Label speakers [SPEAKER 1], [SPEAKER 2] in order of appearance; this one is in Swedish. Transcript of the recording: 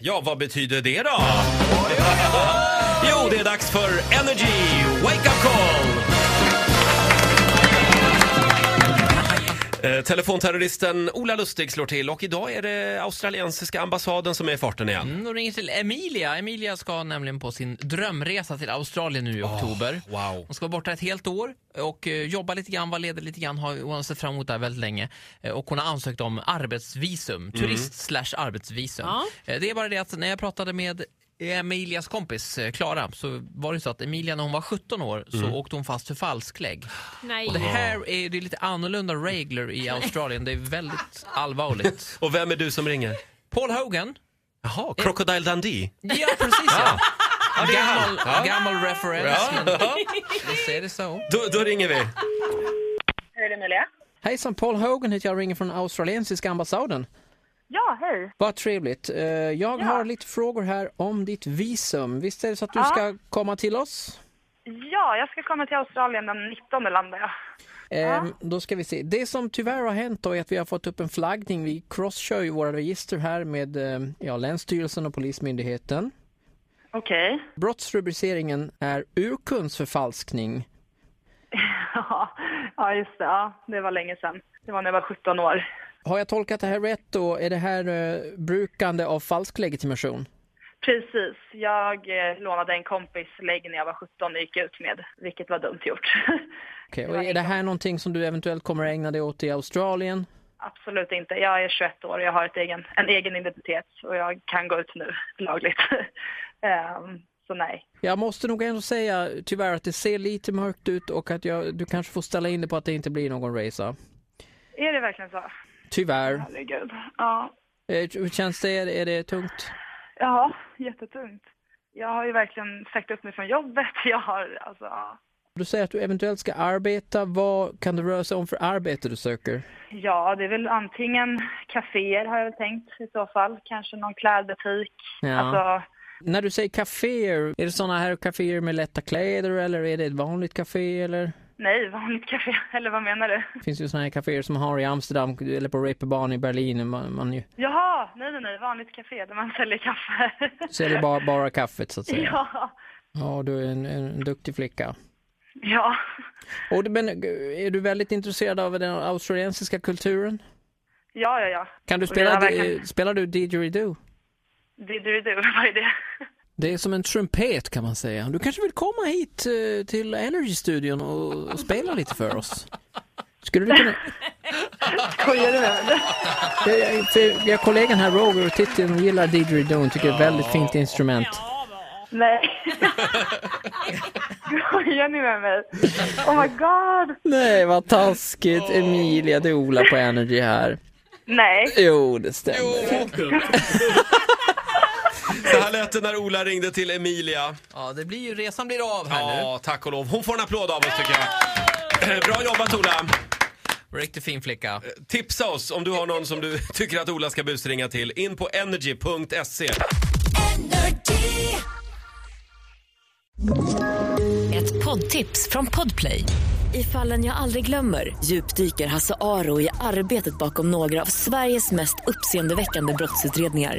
[SPEAKER 1] Ja, vad betyder det då? Jo, det är dags för Energy Wake Up Call! Eh, Telefonterroristen Ola Lustig slår till och idag är det australiensiska ambassaden som är i farten igen.
[SPEAKER 2] Mm, och ringer till Emilia. Emilia ska nämligen på sin drömresa till Australien nu i oktober.
[SPEAKER 1] wow.
[SPEAKER 2] Hon ska vara borta ett helt år och eh, jobba lite grann, vara ledig lite grann. Har hon har sett fram emot det här väldigt länge. Eh, och hon har ansökt om arbetsvisum, turist slash arbetsvisum.
[SPEAKER 3] Ja.
[SPEAKER 2] Eh, det är bara det att när jag pratade med Emilias kompis eh, Klara så var det så att Emilia när hon var 17 år så åkte hon fast för falsklägg.
[SPEAKER 3] Nej.
[SPEAKER 2] Och det här är, det är lite annorlunda regler i Australien. Det är väldigt allvarligt.
[SPEAKER 1] Och vem är du som ringer?
[SPEAKER 2] Paul Hogan
[SPEAKER 1] Jaha,
[SPEAKER 2] Eh.
[SPEAKER 1] Crocodile Dundee.
[SPEAKER 2] Ja, precis. Ja. Gammal, gammal referens. Men visst är det så.
[SPEAKER 1] Då, då ringer vi.
[SPEAKER 4] Hej, det är Emilia.
[SPEAKER 5] Hejsan, Paul Hogan heter jag ringer från australiensiska ambassaden.
[SPEAKER 4] Ja, hej.
[SPEAKER 5] Vad trevligt. Eh, Jag har lite frågor här om ditt visum. Visst är det så att du ska komma till oss?
[SPEAKER 4] Ja, jag ska komma till Australien den 19 landar jag.
[SPEAKER 5] Ehm, Då ska vi se. Det som tyvärr har hänt då är att vi har fått upp en flaggning. Vi crosskör ju våra register här med eh, ja, Länsstyrelsen och Polismyndigheten.
[SPEAKER 4] Okej.
[SPEAKER 5] Brottsrubriceringen är urkundsförfalskning.
[SPEAKER 4] ja, just det. Ja, det var länge sedan. Det var när jag var 17 år.
[SPEAKER 5] Har jag tolkat det här rätt då? Är det här eh, brukande av falsk legitimation?
[SPEAKER 4] Precis. Jag eh, lånade en kompis lägg när jag var 17 och gick ut med, vilket var dumt gjort.
[SPEAKER 5] Okej, och är det här någonting som du eventuellt kommer att ägna dig åt i Australien?
[SPEAKER 4] Absolut inte. Jag är 21 år och jag har ett egen, en egen identitet och jag kan gå ut nu lagligt. Ehm, så nej.
[SPEAKER 5] Jag måste nog ändå säga tyvärr att det ser lite mörkt ut och att jag, du kanske får ställa in det på att det inte blir någon resa.
[SPEAKER 4] Är det verkligen så?
[SPEAKER 5] Tyvärr.
[SPEAKER 4] Herregud. Ja.
[SPEAKER 5] Eh, Hur känns det? Är det tungt?
[SPEAKER 4] Ja, jättetungt. Jag har ju verkligen sagt upp mig från jobbet. Jag har alltså... ja.
[SPEAKER 5] Du säger att du eventuellt ska arbeta. Vad kan det röra sig om för arbete du söker?
[SPEAKER 4] Ja, det är väl antingen kaféer har jag väl tänkt i så fall. Kanske någon klädbutik.
[SPEAKER 5] Ja.
[SPEAKER 4] Alltså,
[SPEAKER 5] När du säger kaféer, är det sådana här kaféer med lätta kläder eller är det ett vanligt kafé eller?
[SPEAKER 4] nej, vanligt kafé. Eller vad menar du?
[SPEAKER 5] Det finns ju sådana här kaféer som man har i Amsterdam eller på Reeperbahn i Berlin. Man, man ju
[SPEAKER 4] Jaha, nej, nej, nej. Vanligt kafé där man säljer kaffe.
[SPEAKER 5] säljer bara, bara kaffet så att säga.
[SPEAKER 4] Ja,
[SPEAKER 5] Ja, du är en, en duktig flicka.
[SPEAKER 4] ja.
[SPEAKER 5] Och, du- men, är du väldigt intresserad av den australiensiska kulturen?
[SPEAKER 4] Ja, ja, ja.
[SPEAKER 5] Kan du
[SPEAKER 4] Och jag
[SPEAKER 5] spela,
[SPEAKER 4] har verkligen-
[SPEAKER 5] eh, spelar du didgeridoo?
[SPEAKER 4] Det du, du, vad är det?
[SPEAKER 5] Det är som en trumpet kan man säga. Du kanske vill komma hit eh, till Energy-studion och, och spela lite för oss? Skulle du kunna...
[SPEAKER 4] Skojar du med mig?
[SPEAKER 5] Jag, jag, för vi har kollegan här, Roger och Titti, de gillar didgeridoo. De tycker det är ett väldigt fint instrument.
[SPEAKER 4] Nej. Skojar ni med mig? Oh my god.
[SPEAKER 5] Nej, vad taskigt. Emilia, det är Ola på Energy här.
[SPEAKER 4] Nej.
[SPEAKER 5] Jo, det stämmer.
[SPEAKER 1] Så här lät det när Ola ringde till Emilia.
[SPEAKER 2] Ja, det blir ju, resan blir av här nu.
[SPEAKER 1] Ja, tack och lov. Hon får en applåd av oss tycker jag. Bra jobbat Ola!
[SPEAKER 2] Riktigt fin flicka.
[SPEAKER 1] Tipsa oss om du har någon som du tycker att Ola ska busringa till. In på energy.se.
[SPEAKER 6] Ett poddtips från Podplay. I fallen jag aldrig glömmer djupdyker Hasse Aro i arbetet bakom några av Sveriges mest uppseendeväckande brottsutredningar.